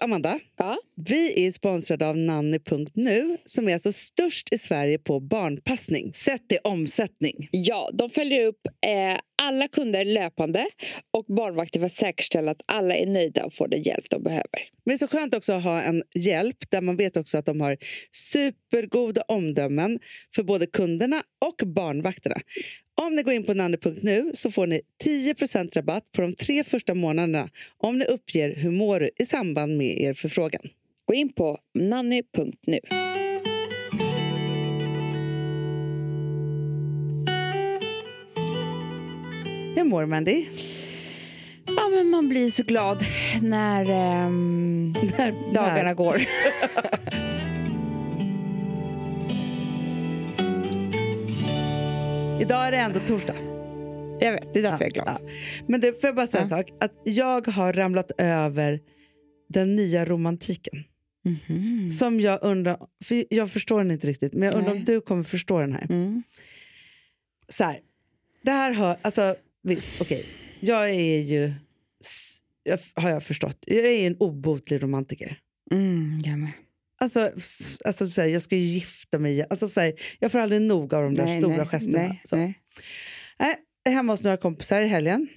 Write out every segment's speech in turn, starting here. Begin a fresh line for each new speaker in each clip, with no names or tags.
Amanda,
Ja.
vi är sponsrade av nanny.nu som är alltså störst i Sverige på barnpassning sett i omsättning.
Ja, de följer upp eh, alla kunder löpande och barnvakter för att säkerställa att alla är nöjda och får den hjälp de behöver.
Men det är så skönt också att ha en hjälp där man vet också att de har supergoda omdömen för både kunderna och barnvakterna. Om ni går in på nanny.nu så får ni 10 rabatt på de tre första månaderna om ni uppger hur mår du i samband med er förfrågan.
Gå in på nanny.nu.
Hur mår Mandy?
Ja, men man blir så glad när ehm, dagarna går.
Idag är det ändå torsdag.
Jag vet, det är därför jag är
Ja.
glad.
Men det, får jag bara säga en
Ja.
sak? Att jag har ramlat över den nya romantiken.
Mhm.
Som jag undrar, för jag förstår den inte riktigt, men jag undrar
Nej.
om du kommer förstå den här.
Mm.
Så här, det här hör, alltså visst, okej. Jag är ju, s- jag, har jag förstått, jag är ju en obotlig romantiker.
Mm, jag med.
Alltså, s- alltså så här, jag ska ju gifta mig. Alltså, så här, jag får aldrig nog av de där stora gesterna.
Nej,
så.
nej.
är hemma hos några kompisar i helgen.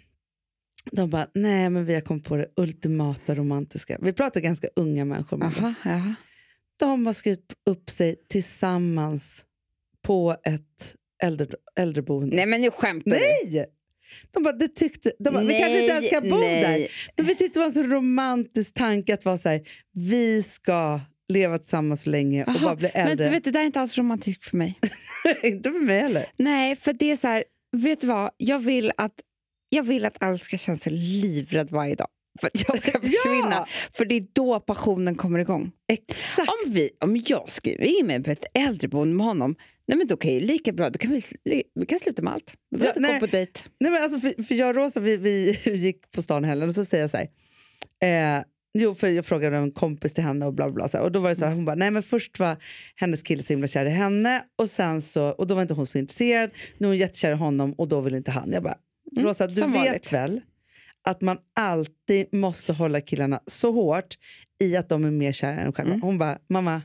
De bara, nej men vi har kommit på det ultimata romantiska. Vi pratar ganska unga människor. men
Aha, aha.
De har skrivit upp sig tillsammans på ett äldre, äldreboende.
nej, men nu skämtar du.
Nej! De bara, det tyckte, de bara, vi kanske inte ens ska bo där.
nej.
Men vi tyckte det var en så romantisk tanke att vara så här, vi ska leva tillsammans länge och
Aha,
bara bli
Men
äldre.
du vet, det där är inte alls romantiskt för mig.
inte för mig heller.
Nej, för det är så här, vet du vad? Jag vill att, jag vill att allt ska kännas livrädd varje dag. För att jag ska försvinna.
Ja,
För det är då passionen kommer igång.
exakt.
Om, vi, om jag skriver in mig på ett äldreboende med honom, nej men då kan jag ju lika bra, då kan vi, sli- vi kan sluta med allt. Vi behöver
Ja,
inte
nej.
gå på dejt.
Nej, men alltså, för, för jag och Rosa vi, vi gick på stan i helgen och så säger jag så här. Eh, jo, för jag frågade en kompis till henne och bla bla, bla. Så här, och då var det så här, hon bara, nej men först var hennes kille så himla kär i henne och sen så, och då var inte hon så intresserad. Nu är hon jättekär i honom och då vill inte han. Jag bara,
Mm,
Rosa du
som
vet
vanligt.
väl att man alltid måste hålla killarna så hårt i att de är mer kära än själva.
Mm.
Hon bara, mamma,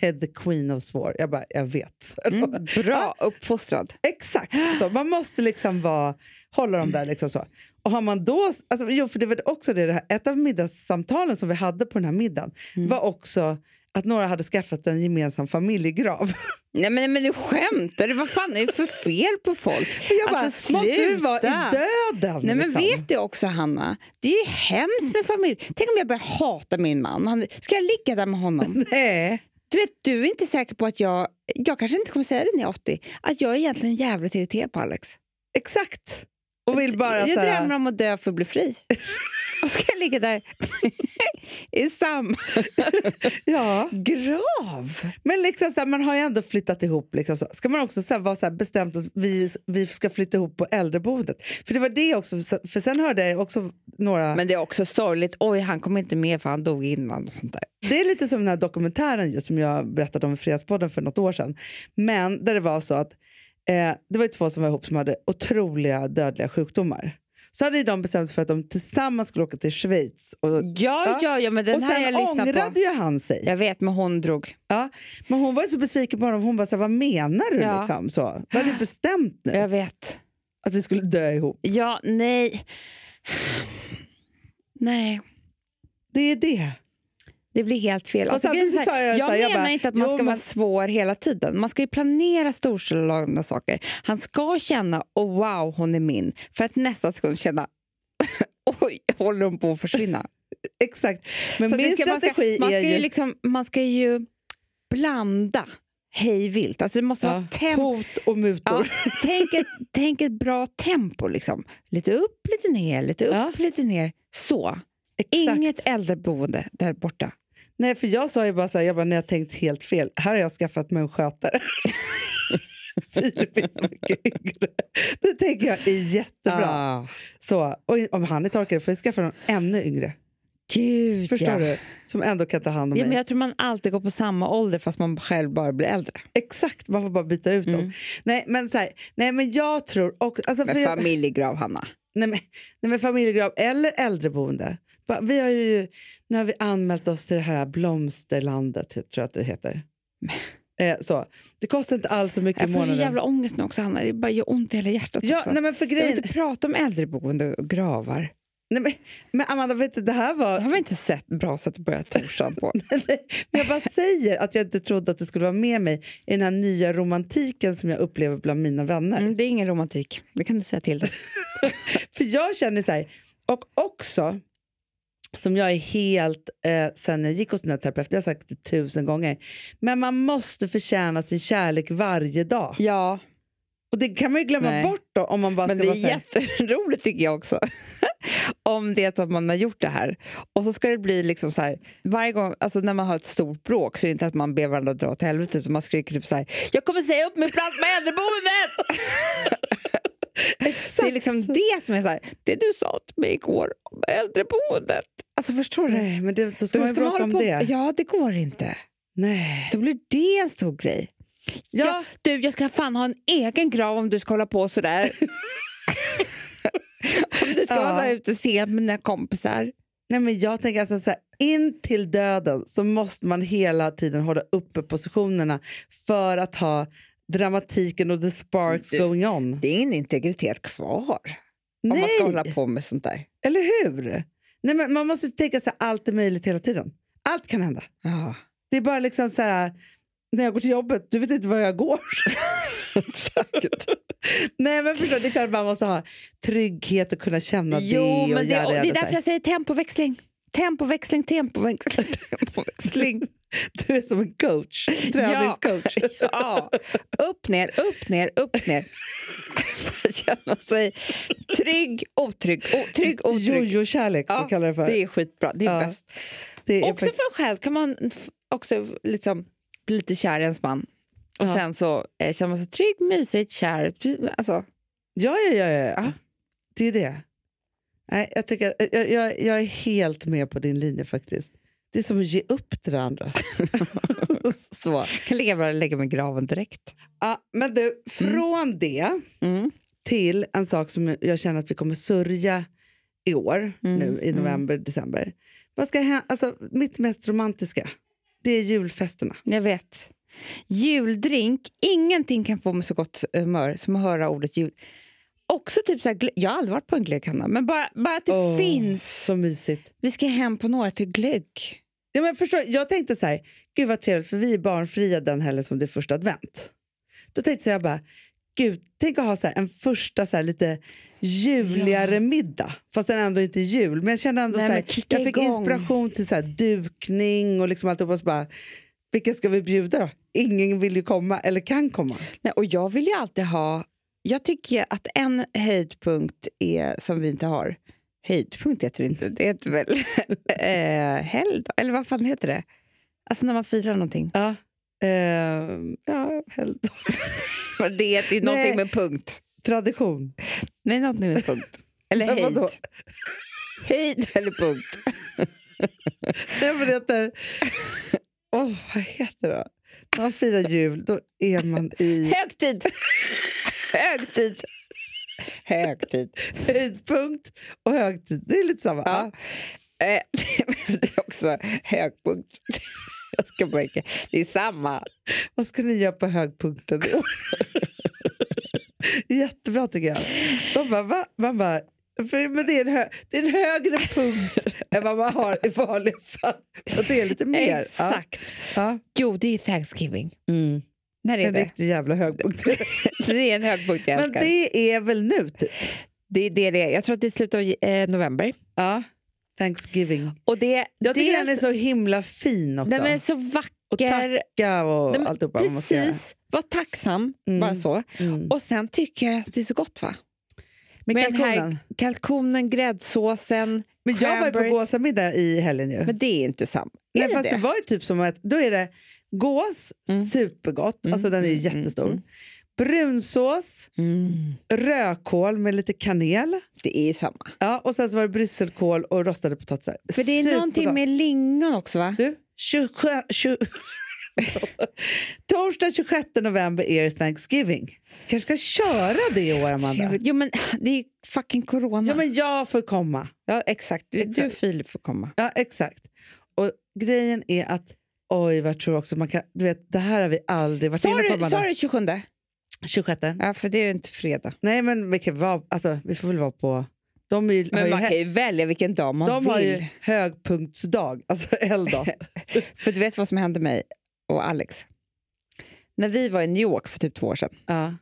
head the queen of svår. Jag bara, jag vet.
Mm, bra uppfostrad.
Exakt. Så. Man måste liksom vara, hålla dem där. Liksom så. Och har man då, alltså, jo, för det var också det, det här, ett av middagssamtalen som vi hade på den här middagen
Mm.
var också att några hade skaffat en gemensam familjegrav.
Nej men, men du skämtar du? Vad fan är det för fel på folk?
Jag bara,
Alltså,
måste du vara i
sluta.
döden?
Nej men
liksom?
vet du också Hanna, det är ju hemskt med familj. Tänk om jag börjar hata min man. Han, ska jag ligga där med honom?
Nej.
Du vet, du är inte säker på att jag... Jag kanske inte kommer säga det när jag är 80. Att jag är egentligen jävligt irriterad på Alex.
Exakt. Och vill bara
jag
så här-
drömmer om att dö för att bli fri. Och ska jag ligga där i samma
ja.
grav.
Men liksom så här, man har ju ändå flyttat ihop. Liksom så. Ska man också så här, vara så här bestämt att vi, vi ska flytta ihop på äldreboendet? För det var det också, för sen hörde jag också några...
Men det är också sorgligt. Oj, han kom inte med för han dog innan. och sånt där.
Det är lite som den här dokumentären ju, som jag berättade om i Fredagspodden för något år sedan. Men där det var så att eh, det var ju två som var ihop som hade otroliga dödliga sjukdomar. Så hade ju de bestämt sig för att de tillsammans skulle åka till Schweiz. Och, och
Ja, ja, ja, men den här har
sen
jag lyssnat
ångrade
på.
ju han sig.
Jag vet, men hon drog.
Men hon var ju så besviken på honom. Hon bara, så här, vad menar du?
Ja.
Liksom, så. Vi hade ju bestämt nu
Jag vet.
att vi skulle dö ihop.
Ja, nej. Nej,
Det är det.
det blir helt fel.
Fast
Alltså,
samtidigt
grejen är
så
så
sa
här,
jag
jag
så här, jag
menar
bara,
inte att man
jo,
ska
men-
vara svår hela tiden. Man ska ju planera storslagna saker. Han ska känna oh, wow, hon är min. För att nästa sekund känna oj, håller hon på att försvinna.
Exakt. Men
Så det
min
ska- man ska-
strategi
man ska,
är ju...
Liksom, man ska ju blanda hej vilt. Alltså, det måste
ja,
vara tempo.
hot och mutor.
Ja, tänk, ett, tänk ett bra tempo. Liksom. Lite upp, lite ner, lite upp,
Ja.
lite ner. Så.
Exakt.
Inget äldreboende där borta.
Nej, för jag sa ju bara så här, jag bara, nej, jag har tänkt helt fel. Här har jag skaffat mig en skötare. Filip är så mycket yngre. Det tänker jag är jättebra.
Ah.
Så, och om han är torkad får jag skaffa någon ännu yngre.
Gud,
Förstår
ja.
du? Som ändå kan ta hand om
Ja, men
mig.
jag tror man alltid går på samma ålder fast man själv bara blir äldre.
Exakt, man får bara byta ut dem.
Mm.
Nej, men så här, nej, men jag tror också... Alltså, för
Men
jag,
familjegrav, Hanna.
nej, men, nej, men familjegrav eller äldreboende. Bara Bara, Vi har ju, nu har vi anmält oss till det här blomsterlandet, tror jag att det heter. Eh, så. Det kostar inte alls så mycket
Jag
i
får så
månaden.
jävla ångest nu också, Hanna. Det bara gör ont i hela hjärtat
Ja,
också.
nej men för
jag vill
grejen...
inte prata om äldreboende och gravar.
Nej, men, men Amanda, vet du, det här var...
Det har vi inte sett bra sätt att börja torsdagen på.
Men jag bara säger att jag inte trodde att du skulle vara med mig i den här nya romantiken som jag upplever bland mina vänner.
Mm, det är ingen romantik. Det kan du säga till dig.
För jag känner så här, och också som jag är helt, eh, sen jag gick hos den här terapeuten, jag har sagt det tusen gånger, men man måste förtjäna sin kärlek varje dag.
Ja,
Och det kan man ju glömma
Nej.
bort då om man bara
men
ska
det är
vara så här,
jätteroligt tycker jag också. Om det är så att man har gjort det här. Och så ska det bli liksom så här, varje gång, alltså när man har ett stort bråk så är det inte att man ber varandra dra åt helvete utan man skriker typ så här, jag kommer säga upp mig plats med äldreboendet! Det är
exakt.
liksom det som är så här, det du sa till mig igår om äldreboendet. Alltså förstår du?
Nej, men det, då ska
Då
man ju
ska man
bråka
hålla
om
på.
det.
Ja, det går inte.
Nej.
Då blir det en stor grej.
Ja.
Ja, du, jag ska fan ha en egen grav om du ska hålla på sådär. om du ska
Ja.
vara så här ute sent med dina kompisar.
Nej, men jag tänker alltså så här, in till döden så måste man hela tiden hålla uppe positionerna för att ha dramatiken och the sparks
Du-
going on.
Det är ingen integritet kvar om man
Nej,
ska hålla på med sånt där.
eller hur? Nej, men man måste tänka så här, allt är möjligt hela tiden. Allt kan hända.
Ja,
Det är bara liksom så här, när jag går till jobbet, du vet inte var jag går.
exakt.
Nej, men förstår, du, det är klart man måste ha trygghet och kunna känna det.
jo,
och
men det,
göra
och det är
så här.
därför jag säger tempoväxling. Tempoväxling, tempoväxling, tempoväxling.
Du är som en coach, träningscoach.
Ja, upp, ner, upp, ner, upp, ner. För att Känna sig trygg, otrygg, o- trygg, otrygg.
Jojo-kärlek, som
Ja,
vi kallar det för.
Det är skitbra, det är
Ja,
bäst.
det är
Också
faktiskt-
för en själv kan man f- också liksom bli lite kär i ens man. Och
Ja.
sen så eh, känner man sig trygg, mysigt, kär. Alltså,
Ja, ja, ja. ja. ja. Det är det. Nej, jag, tycker, eh, jag, jag, jag är helt med på din linje faktiskt. Det är som att ge upp det där andra. Så.
kan lika bra lägga mig i graven direkt.
Ja, men du, från det
Mm.
till en sak som jag känner att vi kommer sörja i år,
Mm,
nu i
mm.
november, december. Vad ska hända? Alltså, mitt mest romantiska, det är julfesterna.
Jag vet. Juldrink. Ingenting kan få mig så gott eh, humör som att höra ordet jul. Också typ så här, glö- jag har aldrig varit på en glögghanna, men bara, bara att det
Åh,
finns.
Så mysigt.
Vi ska hem på några till glögg.
Ja, men förstår, jag tänkte så här, gud vad trevligt för vi är barnfria den helgen som det är första advent. Då tänkte jag bara, gud, tänk att ha så här, en första så här, lite juligare
Ja.
middag. Fast den är ändå inte jul. Men jag kände ändå
Nej,
så
men
här,
kicka
jag fick
igång.
inspiration till så här, dukning och liksom alltihopa. Så bara, vilka ska vi bjuda då? Ingen vill ju komma eller kan komma.
Nej, och jag vill ju alltid ha... Jag tycker att en höjdpunkt är, som vi inte har... Höjdpunkt heter det inte. Det heter väl eh, helg, då? Eller vad fan heter det? Alltså när man firar någonting.
Ja, eh, ja hell-
Men Det heter
Nej.
ju någonting med punkt.
tradition.
Nej, någonting med punkt. Eller
Men
höjd.
vadå?
Höjd eller punkt.
Nej, men det heter... Åh, vad heter det? När man firar jul, då är man i...
Högtid! Högtid! Högtid.
höjdpunkt och högtid. Det är lite samma.
Ja. Eh, det är också högpunkt. Jag ska börja. Det är samma.
Vad ska ni göra på högpunkten i år? Jättebra tycker jag. De bara, va? Man bara, för, men det är, en hö, det är en högre punkt än vad man har i vanliga fall. Och det är lite mer.
Exakt.
Ja.
Jo, det är ju Thanksgiving.
Ja.
När är
En
det?
riktig jävla högpunkt.
Mm. Det är en högpunkt jag
Men
älskar.
det är väl nu typ?
Det är det, det är. Jag tror att det är slutet av eh, november.
Ja. Thanksgiving.
Och det,
Jag tycker
det
den är alltså så himla fin också.
Nej, men så
och
vacker.
tacka och
Nej, men
alltihopa. vad man ska göra.
Precis. Var tacksam,
Mm.
bara så.
Mm.
Och sen tycker jag att det är så gott, va?
Men,
med den här-
kalkonen.
Kalkonen, gräddsåsen.
men jag var ju på
cranberries.
gåsamiddag i helgen ju.
Men det är inte samma.
Nej,
Är det
fast det?
det?
var ju typ som att då är det gås,
Mm.
supergott,
Mm,
alltså den är ju
mm, mm,
jättestor.
mm.
Brunsås,
Mm.
rödkål med lite kanel.
Det är ju samma.
Ja, och sen så var det brysselkål och rostade potatisar.
För det är
Supergott.
någonting med lingon också, va?
Du, 27... 20... Torsdag 26 november är Thanksgiving.
kanske ska köra det i år, Amanda.
Jo, men det är fucking corona.
Ja, men jag får komma.
Ja, exakt. Du och
Exakt.
Filip får komma.
Ja, exakt. Och grejen är att, oj vad jag tror också man kan, du vet det här har vi aldrig varit
Sa
inne på
du, sa
Amanda.
du 27?
26.
Ja, för det är ju inte fredag.
Nej men vi kan vara, alltså vi får väl vara på, de är, ju- har
Men
ju,
man kan
hä-
ju välja vilken dag man
de
vill.
har ju högpunktsdag, alltså helgdag.
För du vet vad som hände mig och Alex? När vi var i New York för typ två år sedan,
ja.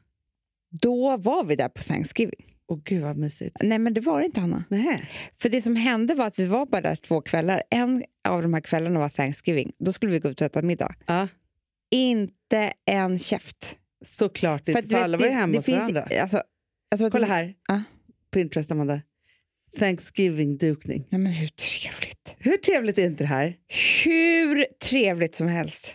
då var vi där på Thanksgiving.
Och gud vad mysigt.
Nej, men det var det inte, Hanna.
Nej.
För det som hände var att vi var bara där två kvällar. En av de här kvällarna var Thanksgiving. Då skulle vi gå ut och äta middag.
Ja.
Inte en käft.
Såklart
För
inte,
att
för,
du vet,
alla var ju hemma hos
finns-
varandra.
Alltså, jag tror att
Kolla
det,
här,
Ja.
Pinterest Amanda. Thanksgiving-dukning.
Nej, men hur trevligt.
Hur trevligt är inte det här?
Hur trevligt som helst.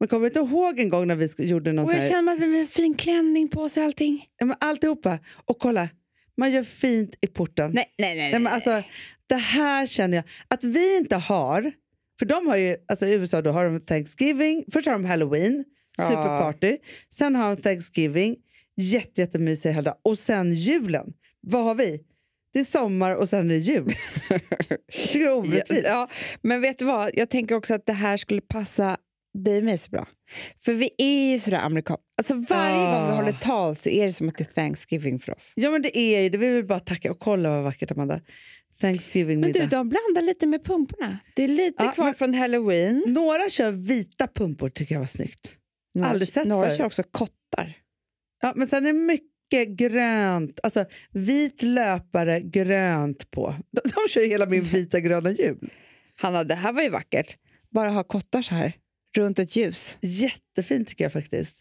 Man kommer inte ihåg en gång när vi sk- gjorde någon
Och
sån
jag
här...
känner mig med en fin klänning på sig och allting.
Ja, men alltihopa. Och kolla, man gör fint i porten.
Nej, nej, nej.
Nej, men alltså, det här känner jag, att vi inte har, för de har ju, alltså i USA då har de Thanksgiving, först har de Halloween,
Ja.
superparty, sen har de Thanksgiving, jätte, jättemysig helgdag, och sen julen. Vad har vi? Det är sommar och sen är det jul. jag tycker det är orättvist.
Ja, men vet du vad? Jag tänker också att det här skulle passa dig och mig så bra. För vi är ju sådär amerikan. Alltså varje gång vi
Ah.
håller tal så är det som att det är Thanksgiving för oss.
Ja men det är ju det, vi vill bara tacka och kolla vad vackert Amanda.
Men du,
Thanksgiving-middag.
de blandar lite med pumporna. Det är lite
Ja,
kvar
men-
från halloween.
Några kör vita pumpor tycker jag var snyggt.
Några,
aldrig sett
några
förut.
kör också kottar.
Ja, men sen är det mycket grönt. Alltså vit löpare, grönt på. De, de kör ju hela min vita gröna jul.
Hanna, det här var ju vackert. Bara ha kottar så här, runt ett ljus.
Jättefint tycker jag faktiskt.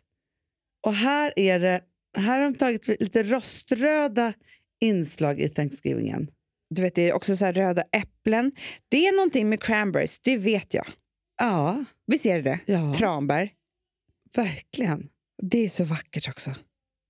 Och här är det, här har de tagit lite roströda inslag i Thanksgivingen.
Du vet, det är också så här röda äpplen. Det är någonting med cranberries, det vet jag.
Ja,
Visst är det det?
ja
Tranbär.
verkligen.
Det är så vackert också.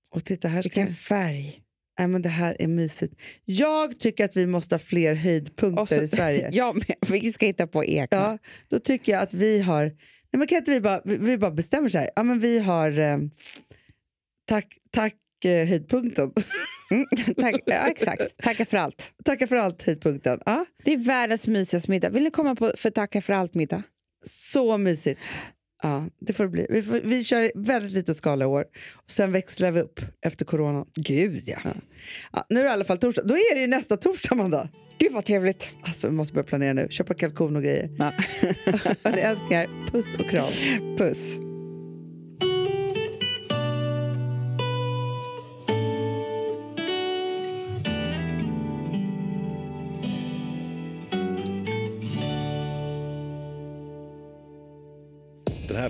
Och titta här. Ska,
Vilken färg.
nej, men det här är mysigt. Jag tycker att vi måste ha fler höjdpunkter
Och så-
i Sverige.
Ja, men vi ska hitta på egna.
Ja, då tycker jag att vi har... Nej, men kan inte vi bara, vi, vi bara bestämmer så här? Ja, men vi har... Eh, tack, tack eh, höjdpunkten.
Mm, tack, ja, exakt. Tacka för allt.
Tackar för allt höjdpunkten. Ja,
Det är världens mysigaste middag. Vill ni komma på för tacka för allt-middag?
så mysigt. Ja, det får det bli. Vi, får, vi kör i väldigt liten skala i år. Och sen växlar vi upp efter coronan.
Gud, ja.
Ja, nu är det i alla fall torsdag. Då är det ju nästa torsdag, Amanda.
Gud, vad trevligt.
Alltså, vi måste börja planera nu. Köpa kalkon och grejer.
Ja.
Hörni, älsklingar, puss och kram.
Puss.
Den här